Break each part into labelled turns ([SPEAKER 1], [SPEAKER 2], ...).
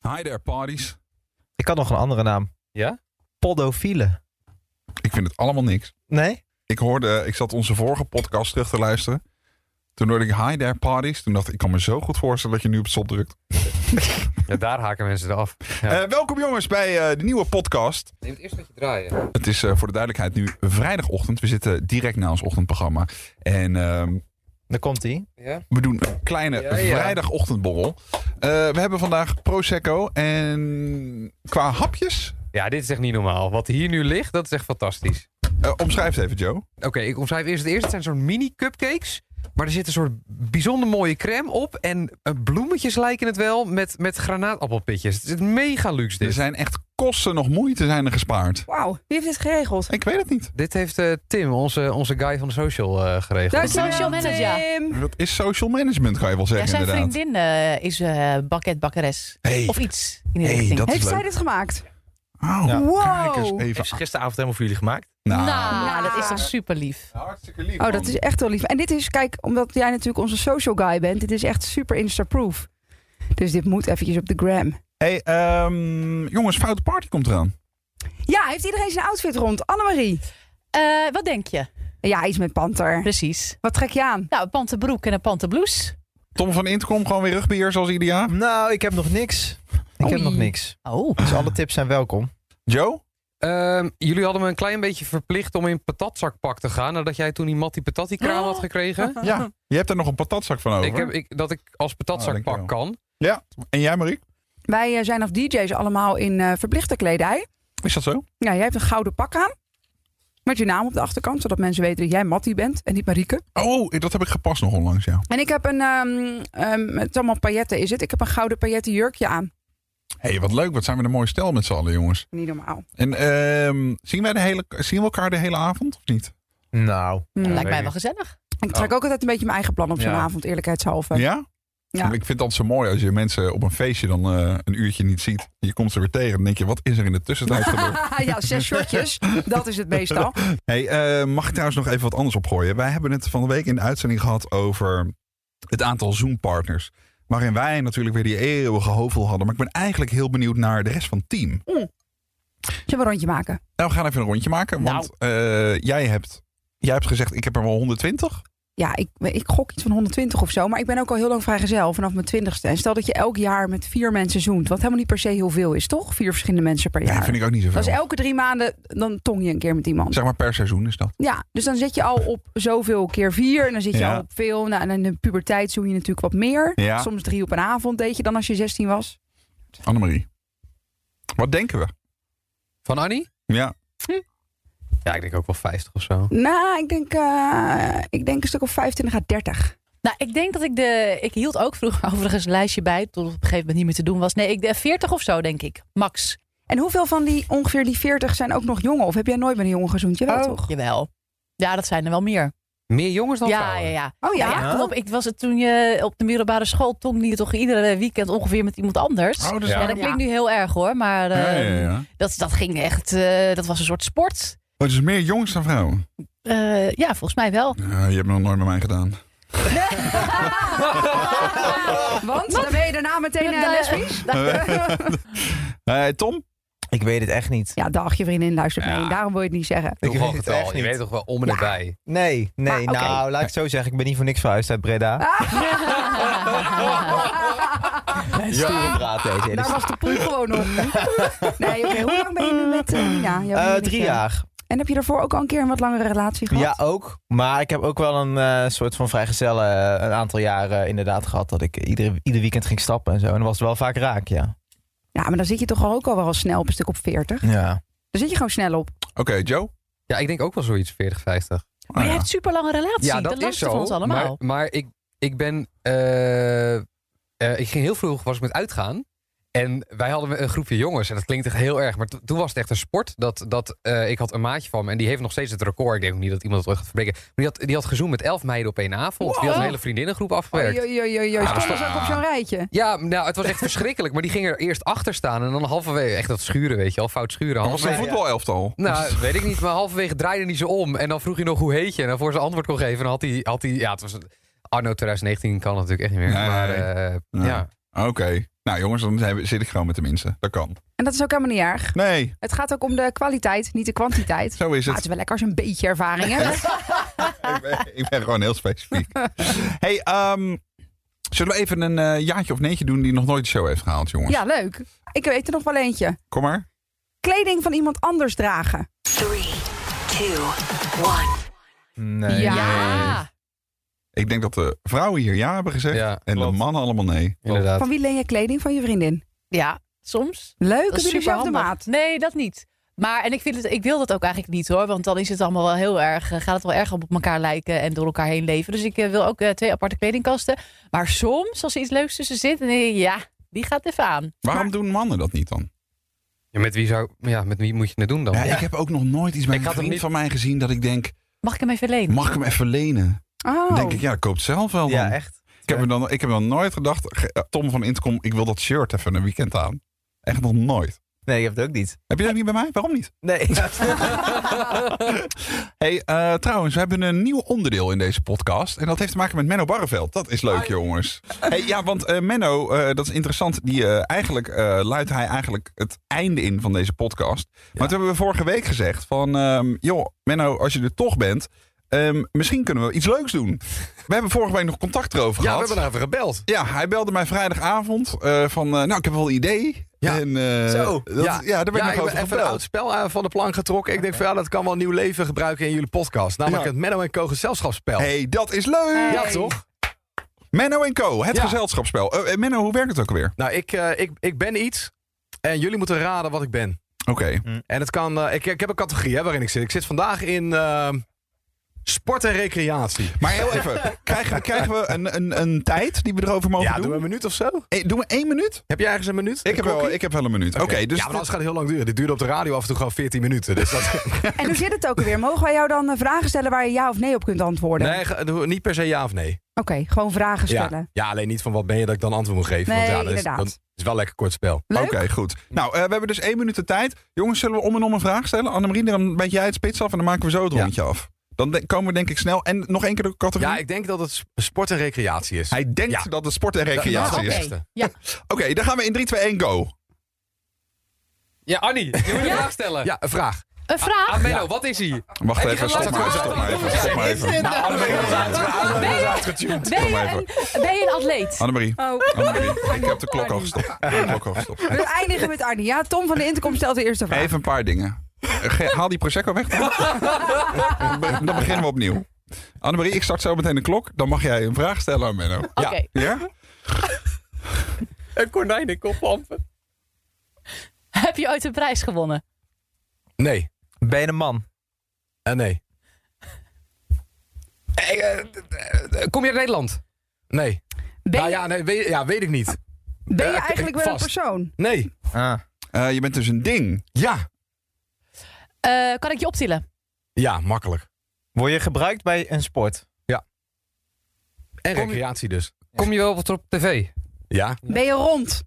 [SPEAKER 1] Hi there parties.
[SPEAKER 2] Ik had nog een andere naam.
[SPEAKER 3] Ja?
[SPEAKER 2] Podofielen.
[SPEAKER 1] Ik vind het allemaal niks.
[SPEAKER 2] Nee?
[SPEAKER 1] Ik hoorde, eh, ik zat onze vorige podcast terug te luisteren. Toen hoorde ik hi there parties. Toen dacht ik, ik kan me zo goed voorstellen dat je nu op stop drukt.
[SPEAKER 3] Ja, daar haken mensen er af. Ja.
[SPEAKER 1] Eh, welkom jongens bij eh, de nieuwe podcast.
[SPEAKER 3] Neem het eerst met je draaien.
[SPEAKER 1] Het is eh, voor de duidelijkheid nu vrijdagochtend. We zitten direct na ons ochtendprogramma. En ehm,
[SPEAKER 2] Daar komt ie.
[SPEAKER 3] Ja?
[SPEAKER 1] we doen een kleine
[SPEAKER 3] Ja, ja.
[SPEAKER 1] vrijdagochtendborrel. Eh, we hebben vandaag Prosecco. En qua hapjes,
[SPEAKER 3] ja, dit is echt niet normaal. Wat hier nu ligt, dat is echt fantastisch.
[SPEAKER 1] eh, omschrijf het even Joe.
[SPEAKER 3] Oké, ik omschrijf eerst het eerste. Het zijn zo'n mini-cupcakes. Maar er zit een soort bijzonder mooie crème op. En eh, bloemetjes lijken het wel met, met granaatappelpitjes. Het is mega luxe
[SPEAKER 1] Er
[SPEAKER 4] Dus-
[SPEAKER 3] dit.
[SPEAKER 1] zijn echt kosten nog moeite zijn er gespaard.
[SPEAKER 5] Wauw, wie heeft dit geregeld?
[SPEAKER 1] Ik weet het niet.
[SPEAKER 3] Dit heeft eh, Tim, onze, onze guy van de social, eh, geregeld.
[SPEAKER 5] Daar is
[SPEAKER 6] Social
[SPEAKER 5] Tim.
[SPEAKER 6] manager.
[SPEAKER 5] Tim.
[SPEAKER 1] Dat is social management, kan je wel
[SPEAKER 6] Ja,
[SPEAKER 1] zeggen
[SPEAKER 6] zijn
[SPEAKER 1] inderdaad.
[SPEAKER 6] vriendin eh, is eh baket bakkeres.
[SPEAKER 1] Hey.
[SPEAKER 6] Of iets in die
[SPEAKER 1] Hey,
[SPEAKER 6] richting.
[SPEAKER 1] dat- is
[SPEAKER 5] Heeft zij
[SPEAKER 1] leuk.
[SPEAKER 5] dit gemaakt?
[SPEAKER 1] Oh,
[SPEAKER 5] Wow.
[SPEAKER 1] Kijk eens even.
[SPEAKER 4] Heeft ze gisteravond helemaal voor jullie gemaakt?
[SPEAKER 1] Nou,
[SPEAKER 6] nou, dat is toch super lief.
[SPEAKER 1] hartstikke lief.
[SPEAKER 5] Oh,
[SPEAKER 1] man.
[SPEAKER 5] dat is echt wel lief. En dit is, kijk, omdat jij natuurlijk onze social guy bent, dit is echt super Insta-proof. Dus dit moet eventjes op de gram.
[SPEAKER 1] Hey, ehm, jongens, Foute Party komt eraan.
[SPEAKER 5] Ja, heeft iedereen zijn outfit rond? Annemarie.
[SPEAKER 6] Eh, wat denk je?
[SPEAKER 5] Ja, iets met panter.
[SPEAKER 6] Precies.
[SPEAKER 5] Wat trek je aan?
[SPEAKER 6] Nou, een pantenbroek en een pantenblouse.
[SPEAKER 1] Tom van Intcom, gewoon weer rugbier zoals ieder jaar.
[SPEAKER 2] Nou, ik heb nog niks. Ik heb
[SPEAKER 6] Oei.
[SPEAKER 2] nog niks.
[SPEAKER 6] Oh.
[SPEAKER 2] Dus alle tips zijn welkom.
[SPEAKER 1] Joe?
[SPEAKER 3] Ehm, jullie hadden me een klein beetje verplicht om in patatzakpak te gaan. Nadat jij toen die Matty Patatti
[SPEAKER 4] Oh,
[SPEAKER 3] kraam had gekregen.
[SPEAKER 1] Ja, je hebt er nog een patatzak van over.
[SPEAKER 3] Ik heb, ik, dat ik als patatzakpak
[SPEAKER 1] Oh,
[SPEAKER 3] kan.
[SPEAKER 1] En jij, Marie?
[SPEAKER 5] Wij eh, zijn als DJ's allemaal in eh, verplichte kledij.
[SPEAKER 1] Is dat zo?
[SPEAKER 5] Ja, jij hebt een gouden pak aan. Met je naam op de achterkant, zodat mensen weten dat jij Mattie bent en niet Marieke.
[SPEAKER 1] Oh, dat heb ik gepast nog onlangs, ja.
[SPEAKER 5] En ik heb een, ehm, ehm, het is allemaal pailletten is het. Ik heb een gouden pailletten jurkje aan.
[SPEAKER 1] Hé, hey, wat leuk. Wat zijn we een mooie stel met z'n allen, jongens.
[SPEAKER 5] Niet normaal.
[SPEAKER 1] En ehm, zien, wij de hele, zien we elkaar de hele avond of niet?
[SPEAKER 2] Nou,
[SPEAKER 5] Hmm.
[SPEAKER 6] Lijkt
[SPEAKER 3] weet
[SPEAKER 6] mij
[SPEAKER 3] ik.
[SPEAKER 6] wel gezellig.
[SPEAKER 5] Ik trek ook altijd een beetje mijn eigen plan op zo'n
[SPEAKER 2] Ja.
[SPEAKER 5] avond, eerlijkheidshalve.
[SPEAKER 1] Oh. Ja?
[SPEAKER 5] Ja.
[SPEAKER 1] Ik vind het altijd zo mooi als je mensen op een feestje dan eh, een uurtje niet ziet. Je komt ze weer tegen en denk je, wat is er in de tussentijd gebeurd?
[SPEAKER 5] ja, zes shortjes. Dat is het meestal.
[SPEAKER 1] Hey, eh, mag ik trouwens nog even wat anders opgooien? Wij hebben het van de week in de uitzending gehad over het aantal Zoom-partners. Waarin wij natuurlijk weer die eeuwige hovel hadden. Maar ik ben eigenlijk heel benieuwd naar de rest van het team.
[SPEAKER 5] Zullen we een rondje maken?
[SPEAKER 1] Nou, we gaan even een rondje maken. Want eh, jij, hebt, jij hebt gezegd, ik heb er wel 120.
[SPEAKER 5] Ja, ik, ik gok iets van 120 of zo. Maar ik ben ook al heel lang vrijgezel, vanaf mijn twintigste. En stel dat je elk jaar met vier mensen zoent. Wat helemaal niet per se heel veel is, toch? Vier verschillende mensen per
[SPEAKER 1] Ja,
[SPEAKER 5] jaar.
[SPEAKER 1] vind ik ook niet zoveel.
[SPEAKER 5] dat is elke drie maanden, dan tong je een keer met iemand.
[SPEAKER 1] Zeg maar per seizoen is dat.
[SPEAKER 5] Ja, dus dan zit je al op zoveel keer vier. En dan zit je
[SPEAKER 1] Ja.
[SPEAKER 5] al op veel. Nou, en in de puberteit zoen je natuurlijk wat meer.
[SPEAKER 1] Ja.
[SPEAKER 5] Soms drie op een avond deed je dan als je 16 was.
[SPEAKER 1] Annemarie, wat denken we?
[SPEAKER 3] Van Annie?
[SPEAKER 1] Ja,
[SPEAKER 3] Ja, ik denk ook wel 50 of zo.
[SPEAKER 5] Nou, ik denk, eh, ik denk een stuk of 25 à 30.
[SPEAKER 6] Nou, ik denk dat ik de... Ik hield ook vroeger overigens een lijstje bij. Tot op een gegeven moment niet meer te doen was. Nee, ik de 40 of zo, denk ik. Max.
[SPEAKER 5] En hoeveel van die ongeveer die 40 zijn ook nog jongen? Of heb jij nooit met een jongen gezoend? Jawel,
[SPEAKER 6] Oh,
[SPEAKER 5] toch?
[SPEAKER 6] Jawel. Ja, dat zijn er wel meer.
[SPEAKER 3] Meer jongens dan
[SPEAKER 6] Ja,
[SPEAKER 3] vrouwen?
[SPEAKER 6] ja, ja.
[SPEAKER 5] Oh ja.
[SPEAKER 6] Nou ja, klopt. Ik was het toen je op de middelbare school tong je toch iedere weekend ongeveer met iemand anders.
[SPEAKER 1] oh, dat is
[SPEAKER 3] Ja.
[SPEAKER 6] Ja,
[SPEAKER 1] waar.
[SPEAKER 6] dat klinkt nu heel erg hoor, maar
[SPEAKER 1] Ja, ja,
[SPEAKER 6] eh,
[SPEAKER 1] ja, ja.
[SPEAKER 6] Dat, dat ging echt, eh, dat was een soort sport.
[SPEAKER 1] Oh, het is meer jongens dan vrouwen.
[SPEAKER 6] Eh, ja, volgens mij wel.
[SPEAKER 1] Ja, je hebt nog nooit met mij gedaan.
[SPEAKER 5] Want dan ben je daarna meteen eh,
[SPEAKER 6] Ja,
[SPEAKER 5] lesbisch.
[SPEAKER 1] Eh, Tom?
[SPEAKER 2] ik weet het echt niet.
[SPEAKER 5] Ja, dag, je vriendin luistert mee.
[SPEAKER 3] Ja.
[SPEAKER 5] Daarom wil je het niet zeggen.
[SPEAKER 3] Ik
[SPEAKER 2] Ik weet
[SPEAKER 3] weet
[SPEAKER 2] het echt
[SPEAKER 3] getal. Je
[SPEAKER 2] niet.
[SPEAKER 3] weet toch wel om en
[SPEAKER 5] Ja.
[SPEAKER 3] nabij.
[SPEAKER 2] Nee, nee,
[SPEAKER 5] Maar, Ah, oké. Ah.
[SPEAKER 2] nou, laat ik het zo zeggen. Ik ben niet voor niks verhuisd uit Breda. Nee, stoere praat deze. hele
[SPEAKER 5] Daar
[SPEAKER 2] st-
[SPEAKER 5] Nou, was de poel gewoon op. Nee, oké. Hoe lang ben je nu met eh, Nina? jouw
[SPEAKER 2] Eh,
[SPEAKER 5] vriendin?
[SPEAKER 2] drie jaar.
[SPEAKER 5] En heb je daarvoor ook al een keer een wat langere relatie gehad?
[SPEAKER 2] Ja, ook. Maar ik heb ook wel een eh, soort van vrijgezellen eh, een aantal jaren inderdaad gehad. Dat ik iedere, ieder weekend ging stappen en zo. En dan was het wel vaak raak, ja.
[SPEAKER 5] Ja, maar dan zit je toch ook al wel snel op een stuk op 40.
[SPEAKER 2] Ja.
[SPEAKER 5] Daar zit je gewoon snel op.
[SPEAKER 1] Oké, Joe?
[SPEAKER 3] Ja, ik denk ook wel zoiets 40, 50.
[SPEAKER 1] Ah,
[SPEAKER 6] Maar je
[SPEAKER 1] ja.
[SPEAKER 6] hebt super lange relatie.
[SPEAKER 3] ja,
[SPEAKER 6] de langste van ons allemaal.
[SPEAKER 3] Maar, maar ik, ik ben... eh, eh, ik ging heel vroeg was ik met uitgaan. En wij hadden een groepje jongens. En dat klinkt echt heel erg. Maar to- toen was het echt een sport. Dat, dat, eh, ik had een maatje van me. En die heeft nog steeds het record. Ik denk ook niet dat iemand dat ooit gaat verbreken. Maar die had, die had gezoend met elf meiden op één avond. Die had een hele vriendinnengroep afgewerkt.
[SPEAKER 5] Oei, oei, oei, oei. Stonden ze ook op zo'n rijtje?
[SPEAKER 3] Ja, nou, het was echt verschrikkelijk. Maar die ging er eerst achter staan. En dan halverwege... Echt dat schuren, weet je wel. Fout schuren.
[SPEAKER 1] Dat was een
[SPEAKER 3] Halverwege-
[SPEAKER 1] voetbalelftal.
[SPEAKER 3] Nou, weet ik niet, maar halverwege draaide hij ze om. En dan vroeg hij nog hoe heet je. En dan voor ze antwoord kon geven, dan had hij... Had hij ja, het was, Arno 2019 kan natuurlijk echt niet meer.
[SPEAKER 1] Nee.
[SPEAKER 3] maar eh,
[SPEAKER 1] Nee.
[SPEAKER 3] ja.
[SPEAKER 1] Oké. Nou jongens, dan zijn we- zit ik gewoon met de minste. Dat kan.
[SPEAKER 5] En dat is ook helemaal niet erg.
[SPEAKER 1] Nee,
[SPEAKER 5] Het gaat ook om de kwaliteit, niet de kwantiteit.
[SPEAKER 1] zo is
[SPEAKER 5] Maar het
[SPEAKER 1] het.
[SPEAKER 5] is wel lekker als je een beetje ervaring hebt.
[SPEAKER 1] ik, ben, ik ben gewoon heel specifiek. hey, ehm, zullen we even een eh, jaartje of neentje doen die nog nooit de show heeft gehaald, jongens?
[SPEAKER 5] Ja, leuk. Ik weet er nog wel eentje.
[SPEAKER 1] Kom maar.
[SPEAKER 5] Kleding van iemand anders dragen.
[SPEAKER 4] Three, two, one.
[SPEAKER 2] Nee.
[SPEAKER 6] Ja.
[SPEAKER 1] Ik denk dat de vrouwen hier ja hebben gezegd
[SPEAKER 3] Ja,
[SPEAKER 1] en
[SPEAKER 3] klopt.
[SPEAKER 1] de mannen allemaal nee.
[SPEAKER 3] Inderdaad.
[SPEAKER 5] Van wie leen je kleding? Van je vriendin.
[SPEAKER 6] Ja, soms.
[SPEAKER 5] Leuk,
[SPEAKER 6] Dat
[SPEAKER 5] heb
[SPEAKER 6] is
[SPEAKER 5] je
[SPEAKER 6] super
[SPEAKER 5] dezelfde
[SPEAKER 6] handig.
[SPEAKER 5] maat.
[SPEAKER 6] Nee, dat niet. Maar en ik, vind het, ik wil dat ook eigenlijk niet hoor. Want dan is het allemaal wel heel erg. eh, Gaat het wel erg op elkaar lijken en door elkaar heen leven. Dus ik eh, wil ook eh, twee aparte kledingkasten. Maar soms, als er iets leuks tussen zit, dan denk ik, ja, die gaat even aan.
[SPEAKER 1] Waarom
[SPEAKER 5] Maar-
[SPEAKER 1] doen mannen dat niet dan?
[SPEAKER 3] Ja, met, wie zou, ja, met wie moet je het nou doen dan?
[SPEAKER 1] Ja, ik heb ook nog nooit iets bij
[SPEAKER 3] Oh. Ik
[SPEAKER 1] een
[SPEAKER 3] had hem
[SPEAKER 1] vriend
[SPEAKER 3] niet-
[SPEAKER 1] van mij gezien dat ik denk,
[SPEAKER 6] Mag ik hem even lenen?
[SPEAKER 1] mag ik hem even lenen? Dan
[SPEAKER 5] Oh.
[SPEAKER 1] denk ik, ja, koop het zelf wel dan.
[SPEAKER 2] Ja, echt.
[SPEAKER 1] ik, heb er dan ik heb dan nooit gedacht, ge- eh, Tom van Intercom, ik wil dat shirt even een weekend aan. Echt nog nooit.
[SPEAKER 2] Nee, ik heb het ook niet.
[SPEAKER 1] Heb je dat niet bij mij? Waarom niet?
[SPEAKER 2] Nee.
[SPEAKER 1] hey, eh, trouwens, we hebben een nieuw onderdeel in deze podcast. En dat heeft te maken met Menno Barreveld. Dat is leuk, jongens. Hey, ja, want eh, Menno, eh, dat is interessant. Die, eh, eigenlijk eh, luidt hij eigenlijk het einde in van deze podcast. Maar toen hebben we vorige week gezegd van... ehm, joh, Menno, als je er toch bent... ehm, misschien kunnen we iets leuks doen. We hebben vorige week nog contact erover
[SPEAKER 3] Ja, we
[SPEAKER 1] gehad.
[SPEAKER 3] hebben daarover gebeld.
[SPEAKER 1] Ja, hij belde mij vrijdagavond eh, van... eh, nou, ik heb wel een idee.
[SPEAKER 7] Ja.
[SPEAKER 1] En, eh,
[SPEAKER 7] Zo.
[SPEAKER 1] dat- ja. daar ben
[SPEAKER 7] ja,
[SPEAKER 1] ik nog
[SPEAKER 7] ik ben
[SPEAKER 1] over
[SPEAKER 7] even een
[SPEAKER 1] gebeld.
[SPEAKER 7] oud spel eh, van de plank getrokken. Ik denk van ja, dat kan wel nieuw leven gebruiken in jullie podcast. Namelijk
[SPEAKER 1] Ja.
[SPEAKER 7] het Menno en Co. gezelschapsspel.
[SPEAKER 1] hey, dat is leuk!
[SPEAKER 7] Ja, toch?
[SPEAKER 1] Menno en Co, het
[SPEAKER 7] Ja.
[SPEAKER 1] gezelschapsspel. Eh, eh, Menno, hoe werkt het ook alweer?
[SPEAKER 7] Nou, ik, eh, ik, ik ben iets en jullie moeten raden wat ik ben.
[SPEAKER 1] Oké.
[SPEAKER 7] En het kan, eh, ik, ik heb een categorie hè, waarin ik zit. Ik zit vandaag in eh, sport en recreatie.
[SPEAKER 1] Maar heel even, krijgen, krijgen we een, een, een tijd die we erover mogen
[SPEAKER 7] Ja, doen
[SPEAKER 1] doen?
[SPEAKER 7] we een minuut of zo?
[SPEAKER 1] Eh, doen we één minuut?
[SPEAKER 7] Heb je ergens een minuut?
[SPEAKER 1] Ik heb, wel, ik heb wel een minuut. Oké, dus...
[SPEAKER 7] ja, maar anders gaat het heel lang duren. Dit duurde op de radio af en toe gewoon 14 minuten. Dus dat...
[SPEAKER 5] En hoe zit het ook alweer? Mogen wij jou dan eh, vragen stellen waar je ja of nee op kunt antwoorden?
[SPEAKER 7] nee, ge- doe- niet per se ja of nee.
[SPEAKER 5] Oké, gewoon vragen
[SPEAKER 7] Ja.
[SPEAKER 5] stellen.
[SPEAKER 7] ja, alleen niet van wat ben je dat ik dan antwoord moet geven.
[SPEAKER 5] Nee,
[SPEAKER 7] want ja, dat is,
[SPEAKER 5] inderdaad.
[SPEAKER 7] dat is wel een lekker kort spel.
[SPEAKER 1] Oké,
[SPEAKER 5] Leuk.
[SPEAKER 1] goed. Nou, eh, we hebben dus één minuut de tijd. Jongens, zullen we om en om een vraag stellen? Annemarie, dan bijt jij het spits af en dan maken we zo het
[SPEAKER 7] Ja.
[SPEAKER 1] rondje af. Dan de- komen we denk ik snel. En nog één keer de categorie.
[SPEAKER 7] Ja, ik denk dat het sp- sport en recreatie is.
[SPEAKER 1] Hij denkt
[SPEAKER 7] Ja.
[SPEAKER 1] dat het sport en
[SPEAKER 7] Ja,
[SPEAKER 1] recreatie
[SPEAKER 7] dat
[SPEAKER 6] Ah, Oké,
[SPEAKER 1] is.
[SPEAKER 7] is-
[SPEAKER 6] ja.
[SPEAKER 1] Oké, dan gaan we in 3, 2, 1, go.
[SPEAKER 3] Ja, Annie, je moet een vraag stellen.
[SPEAKER 7] Ja, een vraag.
[SPEAKER 6] Een vraag?
[SPEAKER 3] Aan Menno, wat is hij?
[SPEAKER 1] Wacht
[SPEAKER 3] En die
[SPEAKER 1] even,
[SPEAKER 3] gaan
[SPEAKER 1] stop
[SPEAKER 3] laten
[SPEAKER 1] maar,
[SPEAKER 3] we-
[SPEAKER 1] stop maar even, stop maar even.
[SPEAKER 6] Nou, Ben je, ben je een, ben je een atleet?
[SPEAKER 1] Annemarie,
[SPEAKER 5] Oh.
[SPEAKER 1] Annemarie, ik heb de klok al gestopt. Ik heb de klok al gestopt.
[SPEAKER 5] We eindigen met Arnie. Ja, Tom van de Intercom stelt de eerste vraag.
[SPEAKER 1] Even een paar dingen. Ge- Haal die Prosecco weg. Dan, dan beginnen we opnieuw. Annemarie, ik start zo meteen de klok. Dan mag jij een vraag stellen aan Menno.
[SPEAKER 6] Oké.
[SPEAKER 1] Ja?
[SPEAKER 3] Een konijn in koplampen.
[SPEAKER 6] Heb je ooit een prijs gewonnen?
[SPEAKER 7] Nee.
[SPEAKER 2] Ben je een man?
[SPEAKER 7] En nee.
[SPEAKER 3] Kom je uit Nederland?
[SPEAKER 7] Nee.
[SPEAKER 5] Ben,
[SPEAKER 7] nou
[SPEAKER 5] je-
[SPEAKER 7] ja, nee, weet, ja, weet ik niet.
[SPEAKER 5] ben je
[SPEAKER 7] eh,
[SPEAKER 5] eigenlijk wel een
[SPEAKER 7] vast.
[SPEAKER 5] persoon?
[SPEAKER 7] Nee.
[SPEAKER 2] Ah.
[SPEAKER 1] Eh, je bent dus een ding.
[SPEAKER 7] Ja.
[SPEAKER 6] Eh, kan ik je optillen?
[SPEAKER 7] Ja, makkelijk.
[SPEAKER 2] Word je gebruikt bij een sport?
[SPEAKER 7] En
[SPEAKER 3] Kom je-
[SPEAKER 7] recreatie dus.
[SPEAKER 3] Kom je wel wat op tv?
[SPEAKER 7] Ja.
[SPEAKER 5] Ben je rond?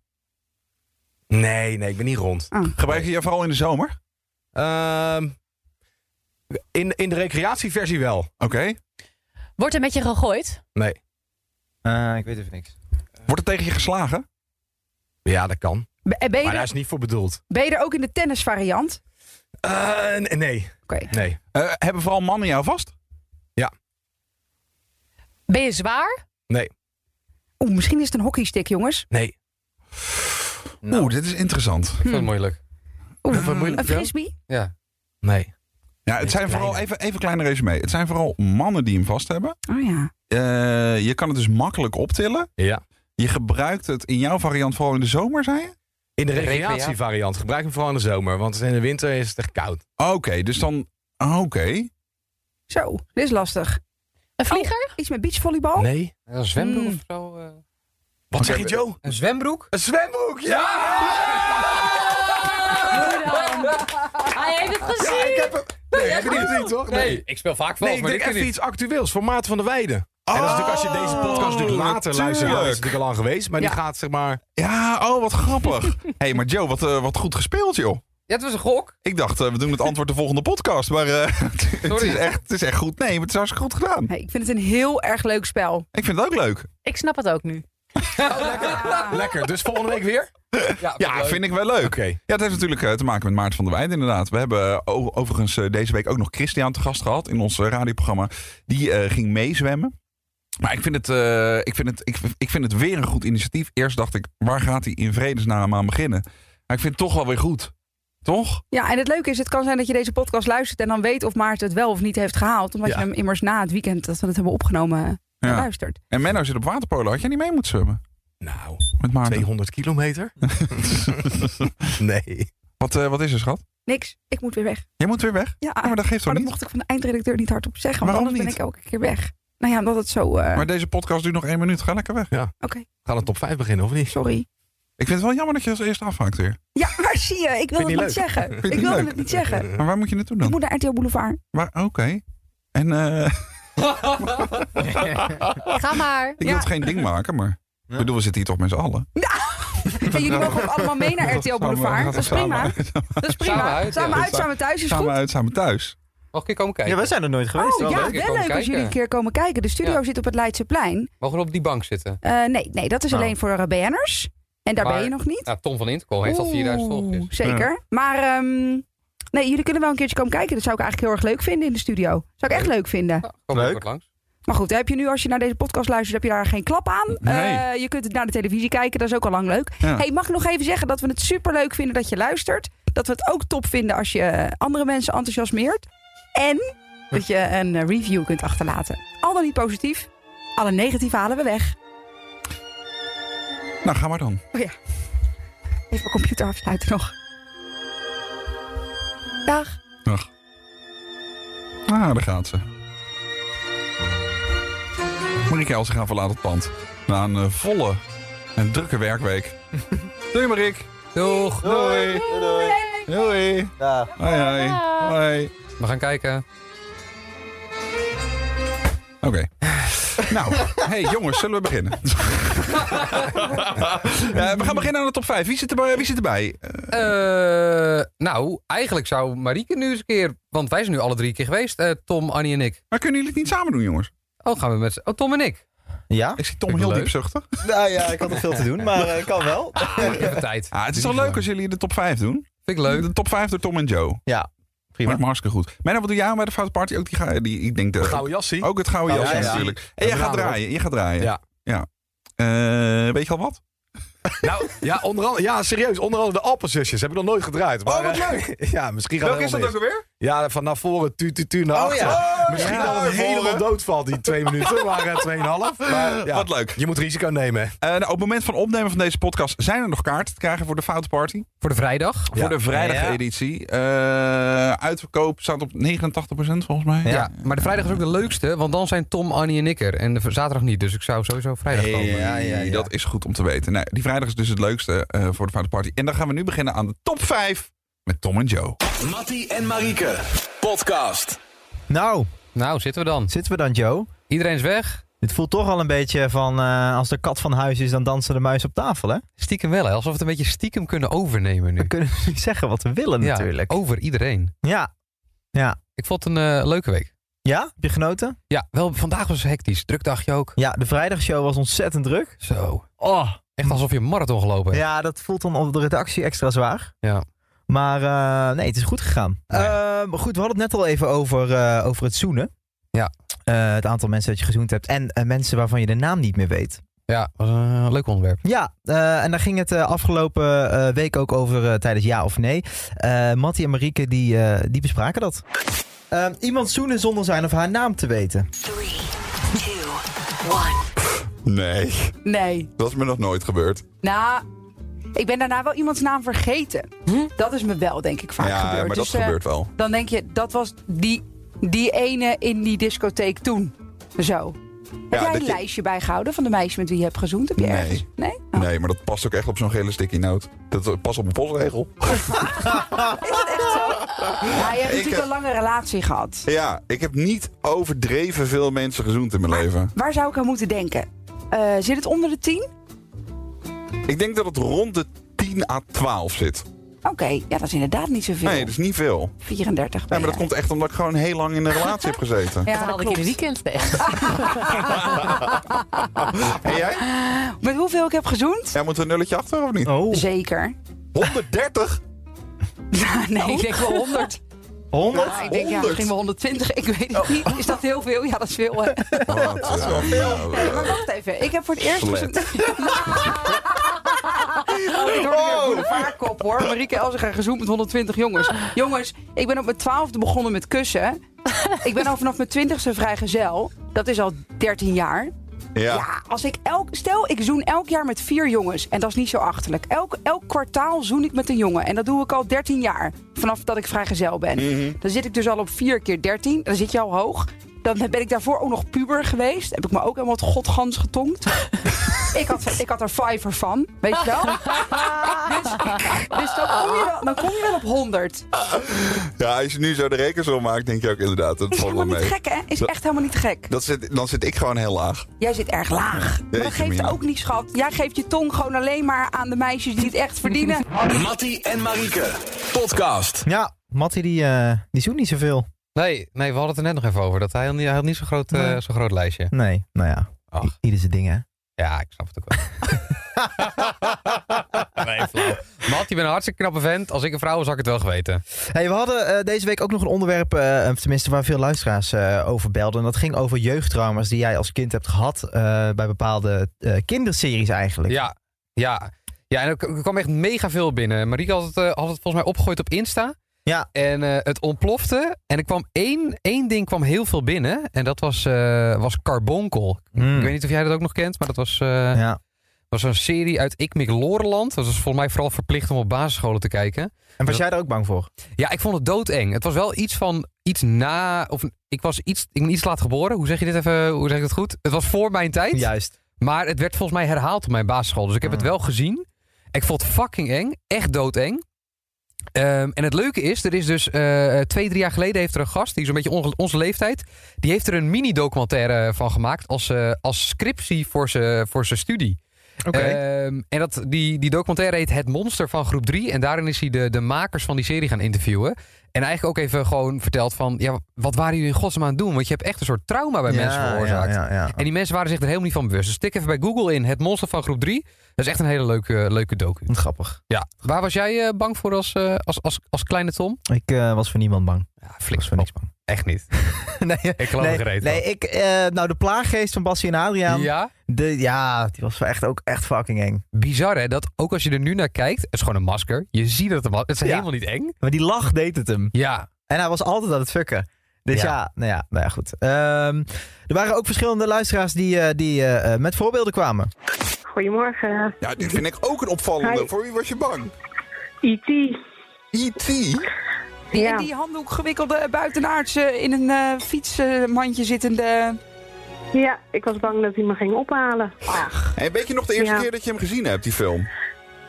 [SPEAKER 7] Nee, nee, ik ben niet rond.
[SPEAKER 1] Gebruik je je vooral in de zomer?
[SPEAKER 7] Ehm, in, in de recreatieversie wel.
[SPEAKER 1] Oké.
[SPEAKER 6] Wordt er met je gegooid?
[SPEAKER 7] Nee.
[SPEAKER 2] Ah, ik weet even niks.
[SPEAKER 1] Wordt er tegen je geslagen?
[SPEAKER 7] Ja, dat kan.
[SPEAKER 5] Ben, eh, ben je,
[SPEAKER 7] Maar daar
[SPEAKER 5] er,
[SPEAKER 7] is niet voor bedoeld.
[SPEAKER 5] ben je er ook in de tennisvariant?
[SPEAKER 7] Eh, n- nee.
[SPEAKER 5] Oké.
[SPEAKER 7] Nee.
[SPEAKER 1] Eh, hebben vooral mannen jou vast?
[SPEAKER 6] Ben je zwaar?
[SPEAKER 5] Oeh, misschien is het een hockeystick, jongens.
[SPEAKER 7] Nee.
[SPEAKER 1] Oeh, dit is interessant.
[SPEAKER 3] Ik vind het moeilijk.
[SPEAKER 5] Oeh,
[SPEAKER 7] Wat moeilijk,
[SPEAKER 5] een
[SPEAKER 7] ja.
[SPEAKER 5] frisbee?
[SPEAKER 3] Ja.
[SPEAKER 7] Nee.
[SPEAKER 1] Ja, het zijn vooral, even, even een kleine resume. Het zijn vooral mannen die hem vast hebben.
[SPEAKER 5] Oh ja.
[SPEAKER 1] Eh, je kan het dus makkelijk optillen.
[SPEAKER 7] Ja.
[SPEAKER 1] Je gebruikt het in jouw variant vooral in de zomer, zei je?
[SPEAKER 7] In de
[SPEAKER 3] De recrea-
[SPEAKER 7] recreatievariant. Gebruik hem vooral in de zomer. Want in de winter is het echt koud.
[SPEAKER 1] Oké, dus dan... Oké.
[SPEAKER 5] Zo, dit is lastig.
[SPEAKER 6] Een vlieger?
[SPEAKER 5] Iets met beachvolleybal?
[SPEAKER 7] Nee.
[SPEAKER 3] Een zwembroek
[SPEAKER 5] Mm.
[SPEAKER 3] of zo? eh.
[SPEAKER 7] Wat zeg je, Joe?
[SPEAKER 3] Een zwembroek?
[SPEAKER 7] Een zwembroek, ja!
[SPEAKER 6] Oh. Hij heeft het gezien.
[SPEAKER 7] Ik heb hem. Nee, heb je die gezien, toch?
[SPEAKER 3] Nee, ik speel vaak vals,
[SPEAKER 7] Nee, ik Oh,
[SPEAKER 3] maar
[SPEAKER 7] denk
[SPEAKER 3] dit
[SPEAKER 7] echt
[SPEAKER 3] keer niet.
[SPEAKER 7] iets actueels voor Maarten van der Weijden.
[SPEAKER 1] Ah!
[SPEAKER 7] en dat is natuurlijk als je deze podcast natuurlijk later
[SPEAKER 1] natuurlijk.
[SPEAKER 7] luistert, dan is het natuurlijk al lang geweest. Maar die gaat zeg maar...
[SPEAKER 1] Ja, oh, wat grappig. Hé, hey, maar Joe, wat, eh, wat goed gespeeld, joh.
[SPEAKER 3] Ja, het was een gok.
[SPEAKER 1] Ik dacht, eh, we doen het antwoord de volgende podcast. Maar eh, het,
[SPEAKER 3] Sorry.
[SPEAKER 1] is echt, het is echt goed. Nee, maar het is hartstikke goed gedaan.
[SPEAKER 5] Hey, ik vind het een heel erg leuk spel.
[SPEAKER 1] Ik vind het ook leuk.
[SPEAKER 6] Ik snap het ook nu.
[SPEAKER 7] Lekker. Dus volgende week weer?
[SPEAKER 1] Ja, vind ik wel leuk.
[SPEAKER 7] Oké.
[SPEAKER 1] Ja, het heeft natuurlijk eh, te maken met Maarten van der Weijden inderdaad. We hebben eh, o- overigens eh, deze week ook nog Christian te gast gehad in ons eh, radioprogramma. Die eh, ging meezwemmen. Maar ik vind, het, eh, ik, vind het, ik, ik vind het weer een goed initiatief. Eerst dacht ik, waar gaat hij in vredesnaam aan beginnen? Maar ik vind het toch wel weer goed. Toch?
[SPEAKER 5] Ja, en het leuke is, het kan zijn dat je deze podcast luistert en dan weet of Maarten het wel of niet heeft gehaald. Omdat
[SPEAKER 1] Ja.
[SPEAKER 5] je hem immers na het weekend dat we het hebben opgenomen eh,
[SPEAKER 1] Ja.
[SPEAKER 5] luistert.
[SPEAKER 1] En Menno zit op waterpolo. Had jij niet mee moeten zwemmen
[SPEAKER 7] Nou,
[SPEAKER 1] met Maarten?
[SPEAKER 7] 200 kilometer? nee.
[SPEAKER 1] Wat, eh, wat is er, schat?
[SPEAKER 5] Niks, ik moet weer weg.
[SPEAKER 1] Jij moet weer weg?
[SPEAKER 5] Ja,
[SPEAKER 1] Ja, maar dat geeft toch
[SPEAKER 5] maar dat
[SPEAKER 1] niet?
[SPEAKER 5] mocht ik van de eindredacteur niet hardop zeggen. Want
[SPEAKER 1] Waarom
[SPEAKER 5] anders
[SPEAKER 1] niet?
[SPEAKER 5] ben ik elke keer weg. Nou ja, omdat het zo... eh,
[SPEAKER 1] Maar deze podcast duurt nog één minuut. Ga lekker weg.
[SPEAKER 5] Oké,
[SPEAKER 7] Gaan de top 5 beginnen, of niet?
[SPEAKER 5] sorry.
[SPEAKER 1] Ik vind het wel jammer dat je als eerste afhaakt weer.
[SPEAKER 5] Ja, maar zie je, ik wilde
[SPEAKER 7] Vind je
[SPEAKER 5] het
[SPEAKER 7] niet
[SPEAKER 5] niet zeggen.
[SPEAKER 1] je
[SPEAKER 5] Ik
[SPEAKER 1] niet
[SPEAKER 5] wilde
[SPEAKER 1] leuk?
[SPEAKER 5] het niet zeggen.
[SPEAKER 1] Maar waar moet je naartoe
[SPEAKER 5] Ik
[SPEAKER 1] dan?
[SPEAKER 5] moet naar RTL Boulevard.
[SPEAKER 1] Waar- Oké. En eh,
[SPEAKER 6] Ga maar.
[SPEAKER 1] ik wil het geen ding maken, maar... Ik bedoel, we zitten hier toch met z'n allen.
[SPEAKER 5] En jullie mogen ook allemaal mee naar RTL Boulevard. Dat is prima. Dat is
[SPEAKER 3] Samen
[SPEAKER 5] prima.
[SPEAKER 3] uit,
[SPEAKER 5] Samen
[SPEAKER 3] ja.
[SPEAKER 5] uit, samen thuis is
[SPEAKER 1] Samen
[SPEAKER 5] goed.
[SPEAKER 1] uit, samen thuis.
[SPEAKER 3] Mag ik hier komen kijken?
[SPEAKER 2] Ja, we zijn er nooit geweest.
[SPEAKER 5] Oh
[SPEAKER 2] wel
[SPEAKER 5] ja,
[SPEAKER 2] leuk.
[SPEAKER 3] Komen
[SPEAKER 5] wel leuk als
[SPEAKER 3] kijken.
[SPEAKER 5] jullie een keer komen kijken. De studio
[SPEAKER 3] Ja.
[SPEAKER 5] zit op het Leidseplein.
[SPEAKER 3] Mogen we op die bank zitten?
[SPEAKER 5] Eh nee, nee, dat is
[SPEAKER 3] Nou.
[SPEAKER 2] Oh.
[SPEAKER 5] alleen voor eh, BN'ers. En daar
[SPEAKER 3] Maar-
[SPEAKER 5] ben je nog niet.
[SPEAKER 3] Ja, Nou, Tom van Intercom heeft al 4000
[SPEAKER 5] Oeh,
[SPEAKER 3] volgers.
[SPEAKER 5] Zeker. Maar ehm, nee, jullie kunnen wel een keertje komen kijken. Dat zou ik eigenlijk heel erg leuk vinden in de studio. Zou ik echt leuk vinden.
[SPEAKER 3] Nou, kom ik
[SPEAKER 2] Leuk.
[SPEAKER 3] kort langs.
[SPEAKER 5] Maar goed, heb je nu als je naar deze podcast luistert, heb je daar geen klap aan.
[SPEAKER 1] Nee.
[SPEAKER 5] Eh, je kunt het naar de televisie kijken, dat is ook al lang leuk.
[SPEAKER 1] Ja.
[SPEAKER 5] Hey, mag ik nog even zeggen dat we het superleuk vinden dat je luistert. Dat we het ook top vinden als je eh, andere mensen enthousiasmeert. En dat je een eh, review kunt achterlaten. Al dan niet positief, alle negatieve halen we weg.
[SPEAKER 1] Nou, ga maar dan.
[SPEAKER 5] Even mijn computer afsluiten nog. Dag.
[SPEAKER 1] Dag. Ah, daar gaat ze. Marieke Els gaan verlaten het pand. Na een eh, volle en drukke werkweek. Doei Marik.
[SPEAKER 3] Doeg!
[SPEAKER 1] Doei. Doei.
[SPEAKER 2] Ja.
[SPEAKER 1] Hoi hoi. Hoi.
[SPEAKER 3] We gaan kijken.
[SPEAKER 1] Oké. nou, hey jongens, zullen we beginnen? Eh, we gaan beginnen aan de top 5. Wie zit erbij? Wie zit erbij? Eh,
[SPEAKER 3] Eh, nou, eigenlijk zou Marieke nu eens een keer... Want wij zijn nu alle drie keer geweest. eh, Tom, Annie en ik.
[SPEAKER 1] maar kunnen jullie het niet samen doen, jongens?
[SPEAKER 3] Oh, gaan we met... z'n- Oh, Tom en ik.
[SPEAKER 2] Ja?
[SPEAKER 1] Ik zie Tom
[SPEAKER 3] Vind ik
[SPEAKER 1] heel
[SPEAKER 3] leuk.
[SPEAKER 1] diep zuchten.
[SPEAKER 2] Nou ja, ik had nog veel te doen, maar eh, kan wel.
[SPEAKER 3] Even tijd.
[SPEAKER 1] Ah, het is wel leuk als jullie de top 5 doen. Eh,
[SPEAKER 3] Vind ik leuk.
[SPEAKER 1] De top 5 door Tom en Joe.
[SPEAKER 2] Ja,
[SPEAKER 1] Maar
[SPEAKER 2] prima.
[SPEAKER 1] het hartstikke goed. Menno, wat doe jij aan bij de Foute Party? Ook die, ga, die ik denk de,
[SPEAKER 7] Gouden jassie.
[SPEAKER 1] ook het gouden
[SPEAKER 2] Oh,
[SPEAKER 1] jasje
[SPEAKER 2] ja, ja.
[SPEAKER 1] natuurlijk. En jij
[SPEAKER 7] Ja,
[SPEAKER 1] gaat
[SPEAKER 7] bravo.
[SPEAKER 1] draaien. Je gaat draaien.
[SPEAKER 7] Ja.
[SPEAKER 1] ja. Eh, weet je al wat?
[SPEAKER 7] Nou, ja, onder andere, ja, serieus. Onder andere de Alpenzusjes hebben nog nooit gedraaid. Maar,
[SPEAKER 1] wat
[SPEAKER 7] eh, ja, misschien gaat
[SPEAKER 1] Welke is
[SPEAKER 7] het
[SPEAKER 1] dat
[SPEAKER 7] helemaal
[SPEAKER 1] ook alweer?
[SPEAKER 7] mis. Ja, van naar voren, tu, tu, tu, naar
[SPEAKER 2] Oh,
[SPEAKER 7] achter.
[SPEAKER 2] ja.
[SPEAKER 7] Misschien
[SPEAKER 1] ja.
[SPEAKER 7] dat het
[SPEAKER 1] Naar
[SPEAKER 7] helemaal
[SPEAKER 1] voren.
[SPEAKER 7] doodvalt, die twee minuten. Maar eh, tweeënhalf. Maar, ja,
[SPEAKER 1] Wat leuk.
[SPEAKER 7] je moet risico nemen. hè.
[SPEAKER 1] Eh, nou, op het moment van opnemen van deze podcast zijn er nog kaarten te krijgen voor de Foute Party.
[SPEAKER 3] Voor de vrijdag.
[SPEAKER 1] Voor de vrijdageditie. Eh, uitverkoop staat op 89% volgens mij.
[SPEAKER 3] Ja. maar de vrijdag is ook de leukste, want dan zijn Tom, Annie en ik er. En de v- zaterdag niet, dus ik zou sowieso vrijdag
[SPEAKER 1] Hey,
[SPEAKER 3] komen.
[SPEAKER 2] Ja, ja, ja.
[SPEAKER 1] Dat is goed om te weten. Nou, die vrijdag is dus het leukste eh, voor de Foute Party. En dan gaan we nu beginnen aan de top 5 met Tom en Joe.
[SPEAKER 8] Mattie en Marieke, podcast.
[SPEAKER 2] Nou,
[SPEAKER 3] Nou, zitten we dan.
[SPEAKER 2] zitten we dan, Joe?
[SPEAKER 3] Iedereen is weg.
[SPEAKER 2] Het voelt toch al een beetje van eh, als de kat van huis is, dan dansen de muis op tafel, hè?
[SPEAKER 3] Stiekem wel, hè? alsof we het een beetje stiekem kunnen overnemen
[SPEAKER 2] We
[SPEAKER 3] nu.
[SPEAKER 2] kunnen niet zeggen wat we willen
[SPEAKER 3] Ja,
[SPEAKER 2] natuurlijk.
[SPEAKER 3] over iedereen.
[SPEAKER 2] Ja. Ja.
[SPEAKER 3] Ik vond het een eh, leuke week.
[SPEAKER 2] Ja? Heb je genoten?
[SPEAKER 3] Ja, wel, vandaag was hectisch. Druk dagje ook.
[SPEAKER 2] Ja, de vrijdagshow was ontzettend druk.
[SPEAKER 3] Zo.
[SPEAKER 2] Oh.
[SPEAKER 3] Echt alsof je een marathon gelopen hebt.
[SPEAKER 2] Ja, dat voelt dan op de redactie extra zwaar.
[SPEAKER 3] Ja.
[SPEAKER 2] Maar eh, nee, het is goed gegaan.
[SPEAKER 3] Nou
[SPEAKER 2] Eh, maar goed, we hadden het net al even over, eh, over het zoenen.
[SPEAKER 3] Ja.
[SPEAKER 2] Eh, het aantal mensen dat je gezoend hebt. En eh, mensen waarvan je de naam niet meer weet.
[SPEAKER 3] Ja, was een leuk onderwerp.
[SPEAKER 2] Ja, eh, en daar ging het eh, afgelopen eh, week ook over eh, tijdens Ja of Nee. Eh Mattie en Marieke die, eh, die bespraken dat. Eh, iemand zoenen zonder zijn of haar naam te weten.
[SPEAKER 4] Three, two, one.
[SPEAKER 1] Nee,
[SPEAKER 5] Nee.
[SPEAKER 1] dat is me nog nooit gebeurd.
[SPEAKER 5] Nou, ik ben daarna wel iemands naam vergeten. Dat is me wel, denk ik, vaak
[SPEAKER 1] Hm? ja,
[SPEAKER 5] gebeurd.
[SPEAKER 1] maar
[SPEAKER 5] Dus,
[SPEAKER 1] dat
[SPEAKER 5] eh,
[SPEAKER 1] gebeurt wel.
[SPEAKER 5] dan denk je, dat was die, die ene in die discotheek toen. Zo.
[SPEAKER 1] Ja,
[SPEAKER 5] heb jij
[SPEAKER 1] dat
[SPEAKER 5] een
[SPEAKER 1] je-
[SPEAKER 5] lijstje bijgehouden van de meisjes met wie je hebt gezoend? Heb je
[SPEAKER 1] Nee.
[SPEAKER 5] ergens? Nee? Oh.
[SPEAKER 1] Nee, maar dat past ook echt op zo'n gele sticky note. Dat eh, past op een postregel.
[SPEAKER 5] Is dat echt zo? Ja, je hebt natuurlijk
[SPEAKER 1] heb-
[SPEAKER 5] een lange relatie gehad.
[SPEAKER 1] Ja, ik heb niet overdreven veel mensen gezoend in mijn leven.
[SPEAKER 5] Waar zou ik aan moeten denken? Eh, zit het onder de tien?
[SPEAKER 1] Ik denk dat het rond de 10 à 12 zit.
[SPEAKER 5] Oké, ja, dat is inderdaad niet zoveel.
[SPEAKER 1] Nee, dat is niet veel.
[SPEAKER 5] 34.
[SPEAKER 1] Ja,
[SPEAKER 5] ben
[SPEAKER 1] maar dat
[SPEAKER 5] je.
[SPEAKER 1] komt echt omdat ik gewoon heel lang in een relatie heb gezeten.
[SPEAKER 5] Ja,
[SPEAKER 6] dat
[SPEAKER 5] dat
[SPEAKER 6] haalde ik in een
[SPEAKER 5] klopt.
[SPEAKER 6] weekend weg.
[SPEAKER 1] En jij?
[SPEAKER 5] Met hoeveel ik heb gezoend?
[SPEAKER 1] Jij moet een nulletje achter of niet?
[SPEAKER 2] Oh,
[SPEAKER 5] Zeker.
[SPEAKER 1] 130? Oh.
[SPEAKER 5] nee,
[SPEAKER 6] Ik denk wel 100.
[SPEAKER 2] 100?
[SPEAKER 5] Ah, ik denk ja,
[SPEAKER 1] 100.
[SPEAKER 5] misschien wel 120. Ik weet
[SPEAKER 1] Oh.
[SPEAKER 5] het niet. Is dat heel veel? Ja, dat is veel. hè.
[SPEAKER 1] Wat, ja, nou,
[SPEAKER 5] Nee, Oh. maar wacht even. Ik heb voor het eerst
[SPEAKER 1] Slet.
[SPEAKER 5] gezoend. Oh, dit wordt weer een vaarkop hoor. Marieke Elzega gezoend met 120 jongens. Jongens, ik ben op mijn twaalfde begonnen met kussen. Ik ben al vanaf mijn twintigste vrijgezel. Dat is al 13 jaar.
[SPEAKER 1] ja.
[SPEAKER 5] Ja, als ik elk, stel ik zoen elk jaar met vier jongens. En dat is niet zo achterlijk. Elk, elk kwartaal zoen ik met een jongen. En dat doe ik al 13 jaar. Vanaf dat ik vrijgezel ben.
[SPEAKER 1] Mhm.
[SPEAKER 5] Dan zit ik dus al op 4 keer 13. Dan zit je al hoog. Dan ben ik daarvoor ook nog puber geweest. Heb ik me ook helemaal het godgans getonkt. ik, had, ik had er vijver van. Weet je wel? dus dus dan, kom je wel, dan kom je wel op 100.
[SPEAKER 1] ja, als je nu zo de rekensom maakt, denk je ook inderdaad, dat
[SPEAKER 5] Is
[SPEAKER 1] valt wel
[SPEAKER 5] helemaal niet
[SPEAKER 1] mee.
[SPEAKER 5] gek, hè? Is
[SPEAKER 1] Dat-
[SPEAKER 5] echt helemaal niet gek.
[SPEAKER 1] Dat zit, dan zit ik gewoon heel laag.
[SPEAKER 5] Jij zit erg laag. Maar
[SPEAKER 1] Jeetje,
[SPEAKER 5] dat geeft
[SPEAKER 1] Mina.
[SPEAKER 5] ook niet, schat. Jij geeft je tong gewoon alleen maar aan de meisjes die het echt verdienen.
[SPEAKER 8] Mattie en Marieke. Podcast.
[SPEAKER 2] Ja, Matty die, eh, die zoekt niet zoveel.
[SPEAKER 3] Nee, nee, we hadden het er net nog even over. Dat hij, hij had niet zo'n groot, eh,
[SPEAKER 2] Nee.
[SPEAKER 3] zo'n groot lijstje.
[SPEAKER 2] Nee, nou ja.
[SPEAKER 3] Ach.
[SPEAKER 2] Ieder zijn ding, hè?
[SPEAKER 3] Ja, ik snap het ook wel. nee, flauw. Matt, je bent een hartstikke knappe vent. Als ik een vrouw was, had ik het wel geweten.
[SPEAKER 2] Hey, we hadden eh, deze week ook nog een onderwerp, eh, of tenminste waar veel luisteraars eh, over belden. En dat ging over jeugdtrauma's die jij als kind hebt gehad eh, bij bepaalde eh, kinderseries eigenlijk.
[SPEAKER 3] Ja, ja. Ja, en er k- er kwam echt mega veel binnen. Marieke had het, eh, had het volgens mij opgegooid op Insta.
[SPEAKER 2] Ja.
[SPEAKER 3] En eh, het ontplofte. En er kwam één, één ding kwam heel veel binnen. En dat was, eh, was Carbonkel.
[SPEAKER 2] Mm.
[SPEAKER 3] Ik weet niet of jij dat ook nog kent, maar dat was, eh,
[SPEAKER 2] Ja.
[SPEAKER 3] was een serie uit Ikmik Loreland. Dat was volgens mij vooral verplicht om op basisscholen te kijken.
[SPEAKER 2] En was
[SPEAKER 3] Ja.
[SPEAKER 2] jij daar ook bang voor?
[SPEAKER 3] Ja, ik vond het doodeng. Het was wel iets van iets na. Of ik was iets. Ik ben iets laat geboren. Hoe zeg je dit even? Hoe zeg ik dat goed? Het was voor mijn tijd.
[SPEAKER 2] Juist.
[SPEAKER 3] Maar het werd volgens mij herhaald op mijn basisschool. Dus ik heb
[SPEAKER 2] Mm.
[SPEAKER 3] het wel gezien. Ik vond het fucking eng. Echt doodeng. Ehm, en het leuke is, er is dus eh, twee, drie jaar geleden heeft er een gast, die is een beetje onge- onze leeftijd, die heeft er een mini-documentaire van gemaakt als, eh, als scriptie voor zijn voor zijn studie.
[SPEAKER 2] Oké.
[SPEAKER 3] Ehm, en dat, die, die documentaire heet Het Monster van groep 3. En daarin is hij de, de makers van die serie gaan interviewen. En eigenlijk ook even gewoon verteld van... Ja, wat waren jullie in godsnaam aan het doen? Want je hebt echt een soort trauma bij mensen veroorzaakt.
[SPEAKER 2] Ja, ja, ja.
[SPEAKER 3] En die mensen waren zich er helemaal niet van bewust. Dus tik even bij Google in Het Monster van Groep 3. Dat is echt een hele leuke, eh, leuke docu.
[SPEAKER 2] Hm, Grappig.
[SPEAKER 3] Ja. Waar was jij eh, bang voor als, eh, als, als, als kleine Tom?
[SPEAKER 2] Ik eh, was voor niemand bang. Ik
[SPEAKER 3] Ja,
[SPEAKER 2] was voor niks bang.
[SPEAKER 3] Echt niet.
[SPEAKER 2] nee,
[SPEAKER 3] Ik geloof
[SPEAKER 2] nee,
[SPEAKER 3] er Oh, gereed
[SPEAKER 2] nee, ik, eh, nou de plaaggeest van Bassie en
[SPEAKER 3] Ja.
[SPEAKER 2] Adriaan. Ja, de, ja die was wel echt ook echt fucking eng.
[SPEAKER 3] Bizar hè, dat ook als je er nu naar kijkt... Het is gewoon een masker. Je ziet dat het, een mas- het is
[SPEAKER 2] Ja.
[SPEAKER 3] helemaal niet eng.
[SPEAKER 2] Maar die lach deed het hem.
[SPEAKER 3] Ja.
[SPEAKER 2] En hij was altijd aan het fucken. Dus ja,
[SPEAKER 3] Ja.
[SPEAKER 2] nou ja, nou ja goed. Ehm, er waren ook verschillende luisteraars die, eh, die eh, eh, met voorbeelden kwamen.
[SPEAKER 9] Goedemorgen.
[SPEAKER 1] Ja, dit vind ik ook een opvallende.
[SPEAKER 9] Hi.
[SPEAKER 1] Voor wie was je bang? E
[SPEAKER 9] E.T.
[SPEAKER 1] E.T.?
[SPEAKER 5] Die
[SPEAKER 9] Ja.
[SPEAKER 5] in die handdoek gewikkelde buitenaardse in een eh fietsmandje zittende.
[SPEAKER 9] Ja, ik was bang dat hij me ging ophalen.
[SPEAKER 1] En weet je nog de eerste
[SPEAKER 9] Ja.
[SPEAKER 1] keer dat je hem gezien hebt, die film?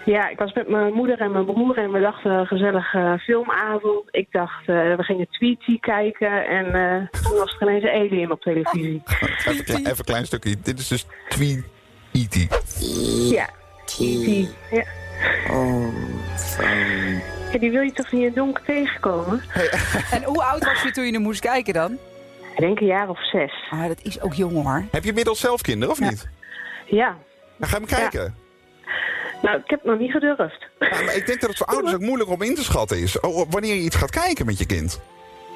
[SPEAKER 9] Ja, ik was met mijn moeder en mijn broer en we dachten een gezellige filmavond. Ik dacht, eh, we gingen Tweety kijken en eh, toen was er ineens een alien op televisie.
[SPEAKER 5] E
[SPEAKER 1] Even, kle- even een klein stukje. Dit is dus E Twee E.T.
[SPEAKER 9] Ja, E.T. E Ja.
[SPEAKER 5] Oh,
[SPEAKER 9] Ja, die wil je toch niet in het donker tegenkomen?
[SPEAKER 5] En hoe oud was je toen je er moest kijken dan?
[SPEAKER 9] Ik denk een jaar of zes.
[SPEAKER 5] Ah, dat is ook jong hoor.
[SPEAKER 1] Heb je inmiddels zelf kinderen, of niet?
[SPEAKER 9] Ja,
[SPEAKER 1] Dan ga je hem kijken.
[SPEAKER 9] nou ik heb het nog niet gedurfd.
[SPEAKER 1] Ja, maar ik denk dat het voor ouders ook moeilijk om in te schatten is. Oh, wanneer je iets gaat kijken met je kind.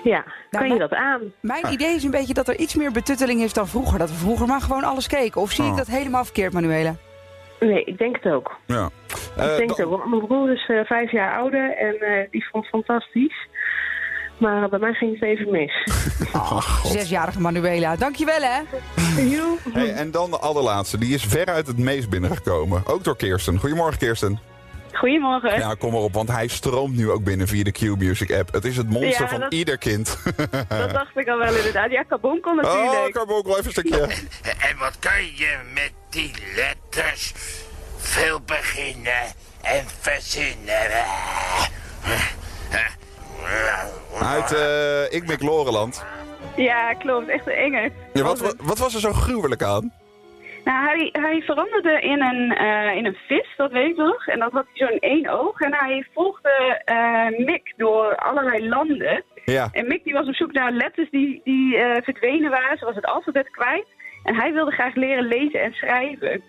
[SPEAKER 9] Ja,
[SPEAKER 5] Nou,
[SPEAKER 9] kan je
[SPEAKER 5] maar-
[SPEAKER 9] dat aan?
[SPEAKER 5] Mijn idee is een beetje dat er iets meer betutteling is dan vroeger. Dat we vroeger maar gewoon alles keken. Of zie ik
[SPEAKER 1] Oh.
[SPEAKER 5] dat helemaal verkeerd, Manuela?
[SPEAKER 9] Nee, ik denk het ook.
[SPEAKER 1] Ja. Eh,
[SPEAKER 9] ik
[SPEAKER 1] dan-
[SPEAKER 9] denk het ook. want Mijn broer is eh, vijf jaar ouder en eh, die vond het fantastisch. Maar eh, bij mij ging het even mis.
[SPEAKER 5] Zesjarige Manuela. Dankjewel hè.
[SPEAKER 9] Joe.
[SPEAKER 1] Hey, en dan de allerlaatste. Die is veruit het meest binnengekomen. Ook door Kirsten. Goedemorgen, Kirsten.
[SPEAKER 9] Goedemorgen.
[SPEAKER 1] Ja, kom maar op, want hij stroomt nu ook binnen via de Q-Music app. Het is het monster
[SPEAKER 9] Ja,
[SPEAKER 1] van
[SPEAKER 9] dat-
[SPEAKER 1] ieder kind.
[SPEAKER 9] Dat dacht ik al wel inderdaad. Ja, kabonkel
[SPEAKER 1] eh. Oh,
[SPEAKER 9] natuurlijk.
[SPEAKER 1] ik heb ook wel even een stukje.
[SPEAKER 10] En wat kan je met die letters? Veel beginnen en verzinnen.
[SPEAKER 1] Uit eh Ik Mik Loreland.
[SPEAKER 9] ja, klopt. Echt een enge.
[SPEAKER 1] Ja, wat, wat, wat was er zo gruwelijk aan?
[SPEAKER 9] Nou, hij, hij veranderde in een, eh, in een vis, dat weet ik nog. En dat had hij zo'n één oog. En hij volgde eh, Mick door allerlei landen.
[SPEAKER 1] Ja.
[SPEAKER 9] En Mick die was op zoek naar letters die, die eh, verdwenen waren. Ze was het alfabet kwijt. En hij wilde graag leren lezen en schrijven.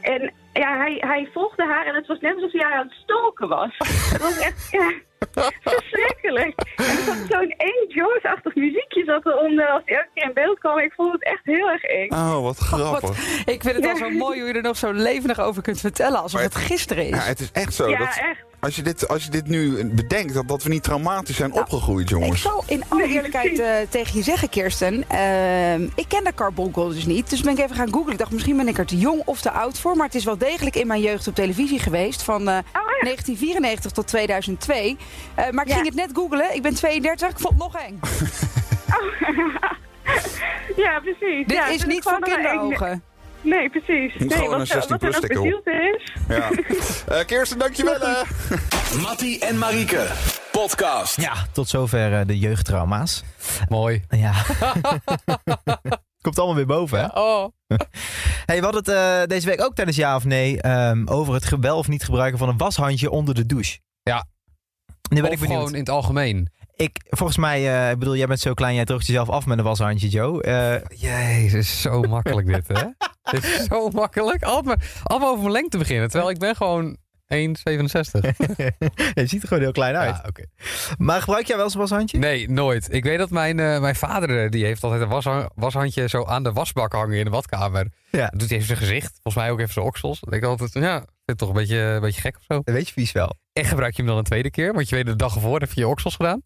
[SPEAKER 9] En ja, hij, hij volgde haar en het was net alsof hij haar aan het stoken was. het was echt ja, verschrikkelijk. En er zat zo'n één Jones-achtig muziekje zat eronder als hij elke keer in beeld kwam. Ik vond het echt heel erg eng.
[SPEAKER 1] Oh, wat grappig.
[SPEAKER 5] Ik vind het wel zo mooi hoe je er nog zo levendig over kunt vertellen. Alsof het gisteren
[SPEAKER 1] Ja,
[SPEAKER 5] is.
[SPEAKER 1] het is echt zo.
[SPEAKER 9] Ja,
[SPEAKER 1] Oh, dat,
[SPEAKER 9] echt.
[SPEAKER 1] Als je, dit, als je dit nu bedenkt, dat, dat we niet traumatisch
[SPEAKER 9] Nou,
[SPEAKER 1] zijn opgegroeid,
[SPEAKER 5] Ik
[SPEAKER 1] jongens.
[SPEAKER 5] zal in alle eerlijkheid eh, tegen je zeggen, Kirsten. ehm, ik ken de carbonkel dus niet. Dus ben ik even gaan googlen. Ik dacht, misschien ben ik er te jong of te oud voor. Maar het is wel degelijk in mijn jeugd op televisie geweest. Van eh,
[SPEAKER 9] Oh,
[SPEAKER 5] 1994 tot 2002. Eh, maar ik ging het net googlen. Ik ben 32. Ik vond het nog eng.
[SPEAKER 9] Ja, precies.
[SPEAKER 5] Dit
[SPEAKER 9] Ja,
[SPEAKER 5] is
[SPEAKER 9] vind ik
[SPEAKER 5] niet voor
[SPEAKER 9] gewoon wel eng.
[SPEAKER 5] kinderogen.
[SPEAKER 9] Nee, precies.
[SPEAKER 1] Moet
[SPEAKER 9] nee,
[SPEAKER 1] gewoon een
[SPEAKER 9] wat, eh,
[SPEAKER 1] 16
[SPEAKER 9] wat er
[SPEAKER 1] plus
[SPEAKER 9] nog
[SPEAKER 1] sticker op.
[SPEAKER 9] bezield is.
[SPEAKER 1] Ja. Eh, Kirsten, dankjewel. hè.
[SPEAKER 8] Mattie en Marieke, podcast.
[SPEAKER 2] Ja, tot zover eh, de jeugdtrauma's.
[SPEAKER 3] Mooi.
[SPEAKER 2] Ja. Komt allemaal weer boven, hè?
[SPEAKER 3] Oh.
[SPEAKER 2] Hey, we hadden het eh, deze week ook tijdens Ja of Nee ehm, over het ge- wel of niet gebruiken van een washandje onder de douche.
[SPEAKER 3] Ja.
[SPEAKER 2] Nu ben
[SPEAKER 3] Of
[SPEAKER 2] ik benieuwd.
[SPEAKER 3] gewoon in het algemeen.
[SPEAKER 2] Ik, volgens mij, eh, ik bedoel, jij bent zo klein, jij droogt jezelf af met een washandje, Joe. Eh,
[SPEAKER 3] Jezus, zo makkelijk dit, hè? dit is zo makkelijk. Allemaal, allemaal over mijn lengte beginnen. Terwijl ik ben gewoon 1,67.
[SPEAKER 2] je ziet er gewoon heel klein uit.
[SPEAKER 3] Ja, oké.
[SPEAKER 2] Maar gebruik jij wel eens een washandje?
[SPEAKER 3] Nee, nooit. Ik weet dat mijn, eh, mijn vader, eh, die heeft altijd een washa- washandje zo aan de wasbak hangen in de badkamer.
[SPEAKER 2] Ja.
[SPEAKER 3] Dat doet hij even zijn gezicht. Volgens mij ook even zijn oksels. Dan denk ik altijd, ja, vind het toch een beetje, een beetje gek of zo.
[SPEAKER 2] Dat weet je vies wel.
[SPEAKER 3] En gebruik je hem dan een tweede keer? Want je weet de dag ervoor heb je je oksels gedaan.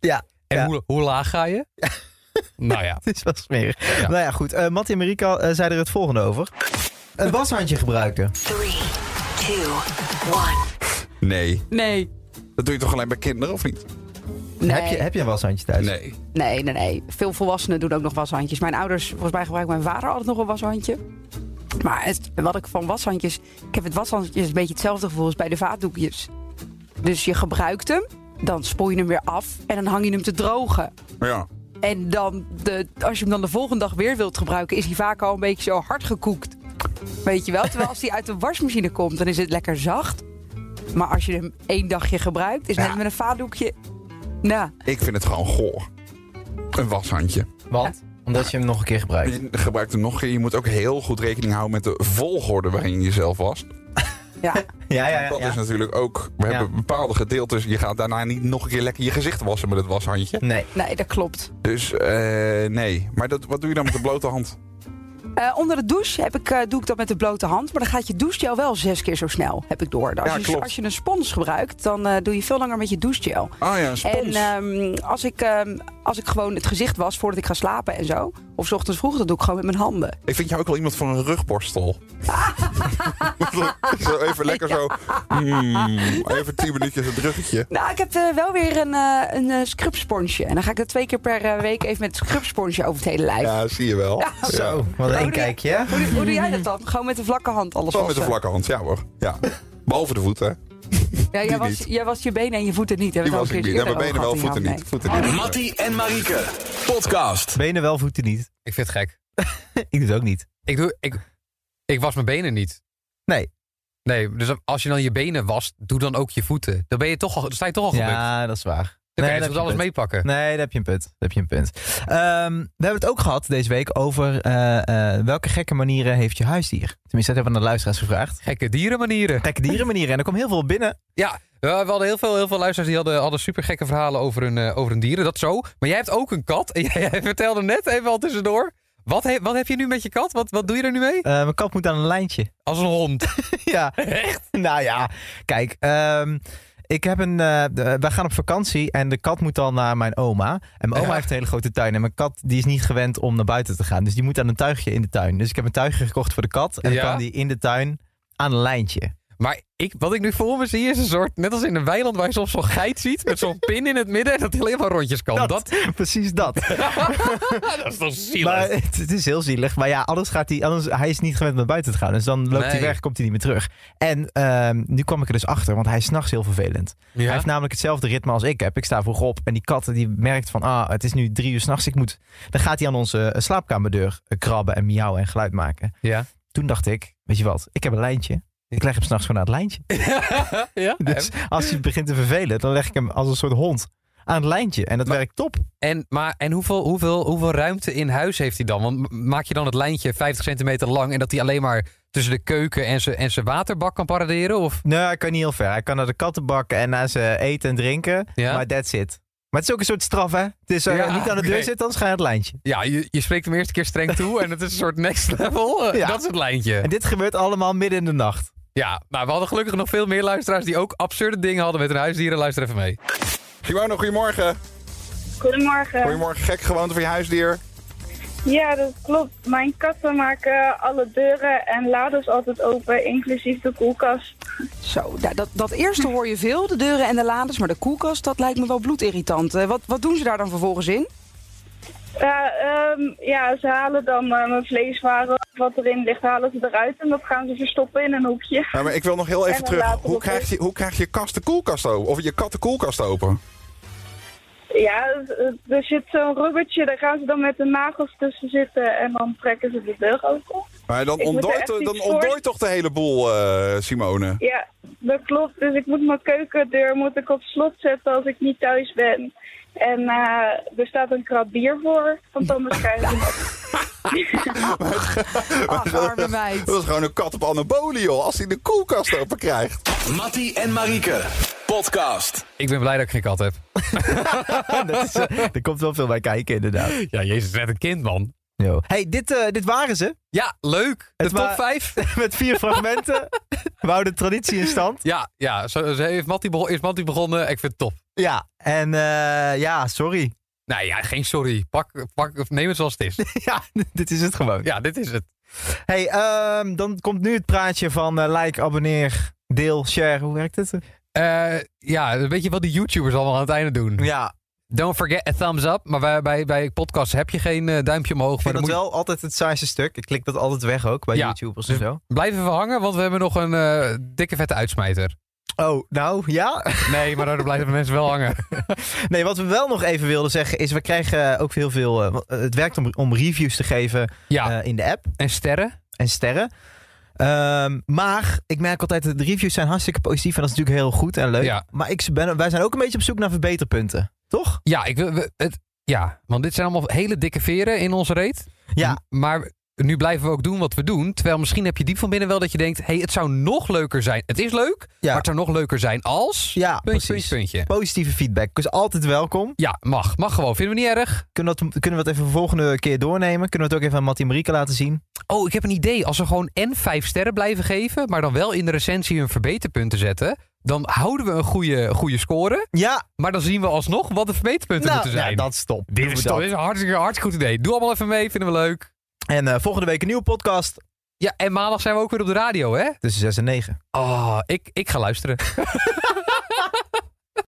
[SPEAKER 2] Ja,
[SPEAKER 3] En
[SPEAKER 2] ja.
[SPEAKER 3] Hoe, hoe laag ga je? nou ja.
[SPEAKER 2] Het is wel smerig.
[SPEAKER 3] Ja.
[SPEAKER 2] Nou ja, goed. Eh Mattie en Marika eh, zeiden er het volgende over. Een washandje gebruiken.
[SPEAKER 4] Three, two, one.
[SPEAKER 1] Nee.
[SPEAKER 5] Nee.
[SPEAKER 1] Dat doe je toch alleen bij kinderen, of niet?
[SPEAKER 5] Nee.
[SPEAKER 2] Heb, je, heb je een washandje thuis?
[SPEAKER 1] Nee.
[SPEAKER 5] nee, nee, nee. Veel volwassenen doen ook nog washandjes. Mijn ouders, volgens mij gebruikt mijn vader altijd nog een washandje. Maar het, wat ik van washandjes... Ik heb het washandjes een beetje hetzelfde gevoel als bij de vaatdoekjes. Dus je gebruikt hem, dan spoel je hem weer af en dan hang je hem te drogen.
[SPEAKER 1] Ja.
[SPEAKER 5] En dan, de, als je hem dan de volgende dag weer wilt gebruiken, is hij vaak al een beetje zo hard gekoekt. Weet je wel? Terwijl als hij uit de wasmachine komt, dan is het lekker zacht. Maar als je hem één dagje gebruikt, is het
[SPEAKER 1] Ja.
[SPEAKER 5] net met een vaatdoekje... Nou,
[SPEAKER 1] Ik vind het gewoon goor. Een washandje.
[SPEAKER 2] Want? Omdat je hem nog een keer gebruikt.
[SPEAKER 1] Je gebruikt hem nog een keer. Je moet ook heel goed rekening houden met de volgorde waarin je jezelf wast.
[SPEAKER 5] ja.
[SPEAKER 2] Ja, ja, ja.
[SPEAKER 1] Dat
[SPEAKER 2] ja.
[SPEAKER 1] is natuurlijk ook... We
[SPEAKER 2] Ja.
[SPEAKER 1] hebben bepaalde gedeeltes. Je gaat daarna niet nog een keer lekker je gezicht wassen met het washandje.
[SPEAKER 2] Nee.
[SPEAKER 5] Nee, dat klopt.
[SPEAKER 1] Dus eh, nee. Maar dat, wat doe je dan met de blote hand?
[SPEAKER 5] Eh, onder de douche heb ik, eh, doe ik dat met de blote hand. Maar dan gaat je douchegel wel zes keer zo snel, heb ik door. Als,
[SPEAKER 1] Ja,
[SPEAKER 5] je,
[SPEAKER 1] klopt.
[SPEAKER 5] als je een spons gebruikt, dan eh, doe je veel langer met je douchegel.
[SPEAKER 1] Ah ja, een spons.
[SPEAKER 2] eh,
[SPEAKER 5] En ehm, als, ik, ehm, als ik gewoon het gezicht was voordat ik ga slapen en zo. Of 's ochtends vroeg, dat doe ik gewoon met mijn handen.
[SPEAKER 1] Ik vind jou ook wel iemand voor een rugborstel. zo even lekker zo. mm, even tien minuutjes het ruggetje.
[SPEAKER 5] Nou, ik heb eh, wel weer een, eh een eh, scrubsponsje. En dan ga ik dat twee keer per eh, week even met het scrubsponsje over het hele lijf.
[SPEAKER 1] Ja, zie je wel.
[SPEAKER 5] Ja,
[SPEAKER 1] Ja.
[SPEAKER 2] Zo, wat een kijkje. hè?
[SPEAKER 5] Hoe, doe- hoe doe jij dat dan? Gewoon met de vlakke hand alles
[SPEAKER 1] Wel met de
[SPEAKER 5] wassen?
[SPEAKER 1] vlakke hand, ja hoor. Ja. Behalve de voeten.
[SPEAKER 5] Ja, jij,
[SPEAKER 1] die
[SPEAKER 5] was,
[SPEAKER 1] niet.
[SPEAKER 5] jij was je benen en je voeten niet. hè? We
[SPEAKER 1] Die was
[SPEAKER 5] hebben
[SPEAKER 1] ik
[SPEAKER 5] het
[SPEAKER 1] niet. Ja,
[SPEAKER 5] al
[SPEAKER 1] mijn benen
[SPEAKER 5] eerder
[SPEAKER 1] wel,
[SPEAKER 5] over gehad,
[SPEAKER 1] voeten
[SPEAKER 5] ja,
[SPEAKER 1] niet. Voeten
[SPEAKER 5] nee.
[SPEAKER 1] niet.
[SPEAKER 8] Mattie en Marieke, podcast.
[SPEAKER 2] Benen wel, voeten niet.
[SPEAKER 3] Ik vind het gek.
[SPEAKER 2] Ik doe het ook niet.
[SPEAKER 3] Ik, doe, ik, ik was mijn benen niet.
[SPEAKER 2] Nee.
[SPEAKER 3] Nee, dus als je dan je benen wast, doe dan ook je voeten. Dan, ben je toch al, dan sta je toch al gebukt.
[SPEAKER 2] Ja, dat is waar.
[SPEAKER 3] dan kan
[SPEAKER 2] Nee,
[SPEAKER 3] je
[SPEAKER 2] dat
[SPEAKER 3] dus
[SPEAKER 2] heb
[SPEAKER 3] alles
[SPEAKER 2] je
[SPEAKER 3] meepakken.
[SPEAKER 2] Nee, daar heb je een punt. Daar heb je een punt. Ehm, we hebben het ook gehad deze week over eh, eh, welke gekke manieren heeft je huisdier? Tenminste, dat hebben we aan de luisteraars gevraagd.
[SPEAKER 3] Gekke dierenmanieren.
[SPEAKER 2] Gekke dierenmanieren. En er komt heel veel binnen.
[SPEAKER 3] Ja, eh, we hadden heel veel, heel veel luisteraars die hadden, hadden super gekke verhalen over hun, eh, over hun dieren. Dat zo. Maar jij hebt ook een kat. En jij, jij vertelde net even al tussendoor. Wat, he- wat heb je nu met je kat? Wat, wat doe je er nu
[SPEAKER 2] Eh,
[SPEAKER 3] mee?
[SPEAKER 2] mijn kat moet aan een lijntje.
[SPEAKER 3] Als een hond.
[SPEAKER 2] ja. Echt? Nou ja, kijk. ehm, ik heb een, eh, de- wij gaan op vakantie en de kat moet dan naar mijn oma. En mijn oma
[SPEAKER 3] Ja.
[SPEAKER 2] heeft een hele grote tuin. En mijn kat die is niet gewend om naar buiten te gaan. Dus die moet aan een tuigje in de tuin. Dus ik heb een tuigje gekocht voor de kat. En
[SPEAKER 3] Ja.
[SPEAKER 2] dan kan die in de tuin aan een lijntje.
[SPEAKER 3] Maar ik, wat ik nu voor me zie is een soort... Net als in een weiland waar je soms zo'n geit ziet. Met zo'n pin in het midden. En dat hij alleen maar rondjes kan. Dat,
[SPEAKER 2] Precies dat.
[SPEAKER 3] dat is toch zielig.
[SPEAKER 2] Maar het, het is heel zielig. Maar ja, anders gaat hij. Anders, hij is niet gewend om naar buiten te gaan. Dus dan loopt hij
[SPEAKER 3] Nee.
[SPEAKER 2] weg, komt hij niet meer terug. En ehm, nu kwam ik er dus achter, want hij is s'nachts heel vervelend.
[SPEAKER 3] Ja.
[SPEAKER 2] Hij heeft namelijk hetzelfde ritme als ik heb. Ik sta vroeg op en die kat die merkt van, ah, het is nu drie uur s'nachts. Ik moet. Dan gaat hij aan onze eh, slaapkamerdeur eh, krabben en miauwen en geluid maken.
[SPEAKER 3] ja.
[SPEAKER 2] Toen dacht ik, weet je wat, ik heb een lijntje. Ik leg hem s'nachts gewoon aan het lijntje.
[SPEAKER 3] ja,
[SPEAKER 2] Dus als hij begint te vervelen, dan leg ik hem als een soort hond aan het lijntje. En dat werkt top.
[SPEAKER 3] En, maar, en hoeveel, hoeveel, hoeveel ruimte in huis heeft hij dan? Want m- maak je dan het lijntje 50 centimeter lang en dat hij alleen maar tussen de keuken en zijn en zijn waterbak kan paraderen? Of?
[SPEAKER 2] Nee, hij kan niet heel ver. Hij kan naar de kattenbak en naar zijn eten en drinken.
[SPEAKER 3] Ja.
[SPEAKER 2] Maar that's it. Maar het is ook een soort straf, hè? Het is eh,
[SPEAKER 3] Ja,
[SPEAKER 2] niet aan de deur
[SPEAKER 3] oké.
[SPEAKER 2] zitten, anders ga je aan het lijntje.
[SPEAKER 3] Ja, je, je spreekt hem eerste keer streng toe en het is een soort next level. Eh,
[SPEAKER 2] Ja.
[SPEAKER 3] Dat is het lijntje.
[SPEAKER 2] En dit gebeurt allemaal midden in de nacht.
[SPEAKER 3] Ja, nou, we hadden gelukkig nog veel meer luisteraars die ook absurde dingen hadden met hun huisdieren. Luister even mee.
[SPEAKER 1] Simone, goedemorgen.
[SPEAKER 9] Goedemorgen.
[SPEAKER 1] Goedemorgen, gek gewoonte voor je huisdier.
[SPEAKER 9] Ja, dat klopt. Mijn katten maken alle deuren en laders altijd open, inclusief de koelkast.
[SPEAKER 5] Zo, da- dat, dat eerste hoor je veel, de deuren en de laders. Maar de koelkast, dat lijkt me wel bloedirritant. Eh, Wat, wat doen ze daar dan vervolgens in?
[SPEAKER 9] Ja, ehm, ja, ze halen dan eh, mijn vleeswaren of wat erin ligt, halen ze eruit en dat gaan ze verstoppen in een hoekje.
[SPEAKER 1] Ja, maar ik wil nog heel even
[SPEAKER 9] En dan
[SPEAKER 1] terug.
[SPEAKER 9] later
[SPEAKER 1] Hoe
[SPEAKER 9] nog
[SPEAKER 1] krijg, je, hoe krijg je kast de koelkast open? Of je kat de koelkast open?
[SPEAKER 9] Ja, eh, er zit zo'n rubbertje, daar gaan ze dan met de nagels tussen zitten en dan trekken ze de deur open.
[SPEAKER 1] Maar dan
[SPEAKER 9] Ik moet er
[SPEAKER 1] ontdooit,
[SPEAKER 9] echt iets
[SPEAKER 1] dan
[SPEAKER 9] voor.
[SPEAKER 1] ontdooit toch de hele boel, eh, Simone?
[SPEAKER 9] Ja, dat klopt. Dus ik moet mijn keukendeur moet ik op slot zetten als ik niet thuis ben. En eh, er staat een krat bier voor, want dan beschrijf ik het.
[SPEAKER 5] Ach, arme meid.
[SPEAKER 1] Dat is gewoon een kat op anabolie, joh. Als hij de koelkast open krijgt.
[SPEAKER 8] Mattie en Marieke, podcast.
[SPEAKER 3] Ik ben blij dat ik geen kat heb.
[SPEAKER 2] Dat is, eh, er komt wel veel bij kijken, inderdaad.
[SPEAKER 3] Ja, Jezus, net een kind, man.
[SPEAKER 2] Yo. Hey, dit, eh, dit waren ze.
[SPEAKER 3] Ja, leuk. De
[SPEAKER 2] Het
[SPEAKER 3] top
[SPEAKER 2] wa-
[SPEAKER 3] 5.
[SPEAKER 2] Met vier fragmenten. We houden de traditie in stand.
[SPEAKER 3] Ja, ja zo, zo heeft Mattie begon, is Mattie begonnen. Ik vind het top.
[SPEAKER 2] Ja, en eh, ja, sorry.
[SPEAKER 3] Nou ja, geen sorry. Pak, pak, of neem het zoals het is.
[SPEAKER 2] Ja, dit is het gewoon.
[SPEAKER 3] Ja, dit is het.
[SPEAKER 2] Hey, ehm, dan komt nu het praatje van eh, like, abonneer, deel, share. Hoe werkt het?
[SPEAKER 3] Eh, ja, weet je wat die YouTubers allemaal aan het einde doen?
[SPEAKER 2] Ja,
[SPEAKER 3] Don't forget a thumbs up. Maar wij- bij, bij podcasts heb je geen eh, duimpje omhoog.
[SPEAKER 2] ik
[SPEAKER 3] Maar
[SPEAKER 2] vind
[SPEAKER 3] dan
[SPEAKER 2] dat
[SPEAKER 3] moet je
[SPEAKER 2] wel altijd het saaiste stuk. Ik klik dat altijd weg ook bij
[SPEAKER 3] Ja.
[SPEAKER 2] YouTubers en
[SPEAKER 3] Dus-
[SPEAKER 2] zo.
[SPEAKER 3] blijven we hangen, want we hebben nog een eh, dikke vette uitsmijter.
[SPEAKER 2] Oh, nou ja.
[SPEAKER 3] Nee, maar daar blijven de mensen wel hangen.
[SPEAKER 2] Nee, wat we wel nog even wilden zeggen is, we krijgen eh, ook heel veel... eh, het werkt om, om reviews te geven
[SPEAKER 3] Ja,
[SPEAKER 2] eh, in de app.
[SPEAKER 3] en sterren.
[SPEAKER 2] en sterren. Ehm, maar ik merk altijd, dat de reviews zijn hartstikke positief en dat is natuurlijk heel goed en leuk.
[SPEAKER 3] Ja.
[SPEAKER 2] Maar ik ben, wij zijn ook een beetje op zoek naar verbeterpunten, toch?
[SPEAKER 3] Ja, ik wil, we- het, ja, want dit zijn allemaal hele dikke veren in onze reet.
[SPEAKER 2] Ja.
[SPEAKER 3] M- Maar nu blijven we ook doen wat we doen. Terwijl misschien heb je diep van binnen wel dat je denkt... hé, hey, het zou nog leuker zijn. Het is leuk,
[SPEAKER 2] Ja.
[SPEAKER 3] maar het zou nog leuker zijn als...
[SPEAKER 2] Ja,
[SPEAKER 3] puntje,
[SPEAKER 2] precies.
[SPEAKER 3] puntje, puntje.
[SPEAKER 2] Positieve feedback, dus altijd welkom.
[SPEAKER 3] Ja, mag. Mag gewoon. Vinden we niet erg.
[SPEAKER 2] Kunnen, we dat, kunnen we dat even de volgende keer doornemen? Kunnen we het ook even aan Mattie en Marieke laten zien?
[SPEAKER 3] Oh, ik heb een idee. Als we gewoon en vijf sterren blijven geven... maar dan wel in de recensie hun verbeterpunten zetten... dan houden we een goede, goede score...
[SPEAKER 2] Ja,
[SPEAKER 3] maar dan zien we alsnog wat de verbeterpunten
[SPEAKER 2] nou,
[SPEAKER 3] moeten zijn.
[SPEAKER 2] ja, dat stop.
[SPEAKER 3] Dit is, toch- dit is een hartstikke, hartstikke goed idee. Doe allemaal even mee. Vinden we leuk.
[SPEAKER 2] En eh, volgende week een nieuwe podcast
[SPEAKER 3] Ja, en maandag zijn we ook weer op de radio, hè?
[SPEAKER 2] tussen 6 en 9.
[SPEAKER 3] Oh, ik, ik ga luisteren.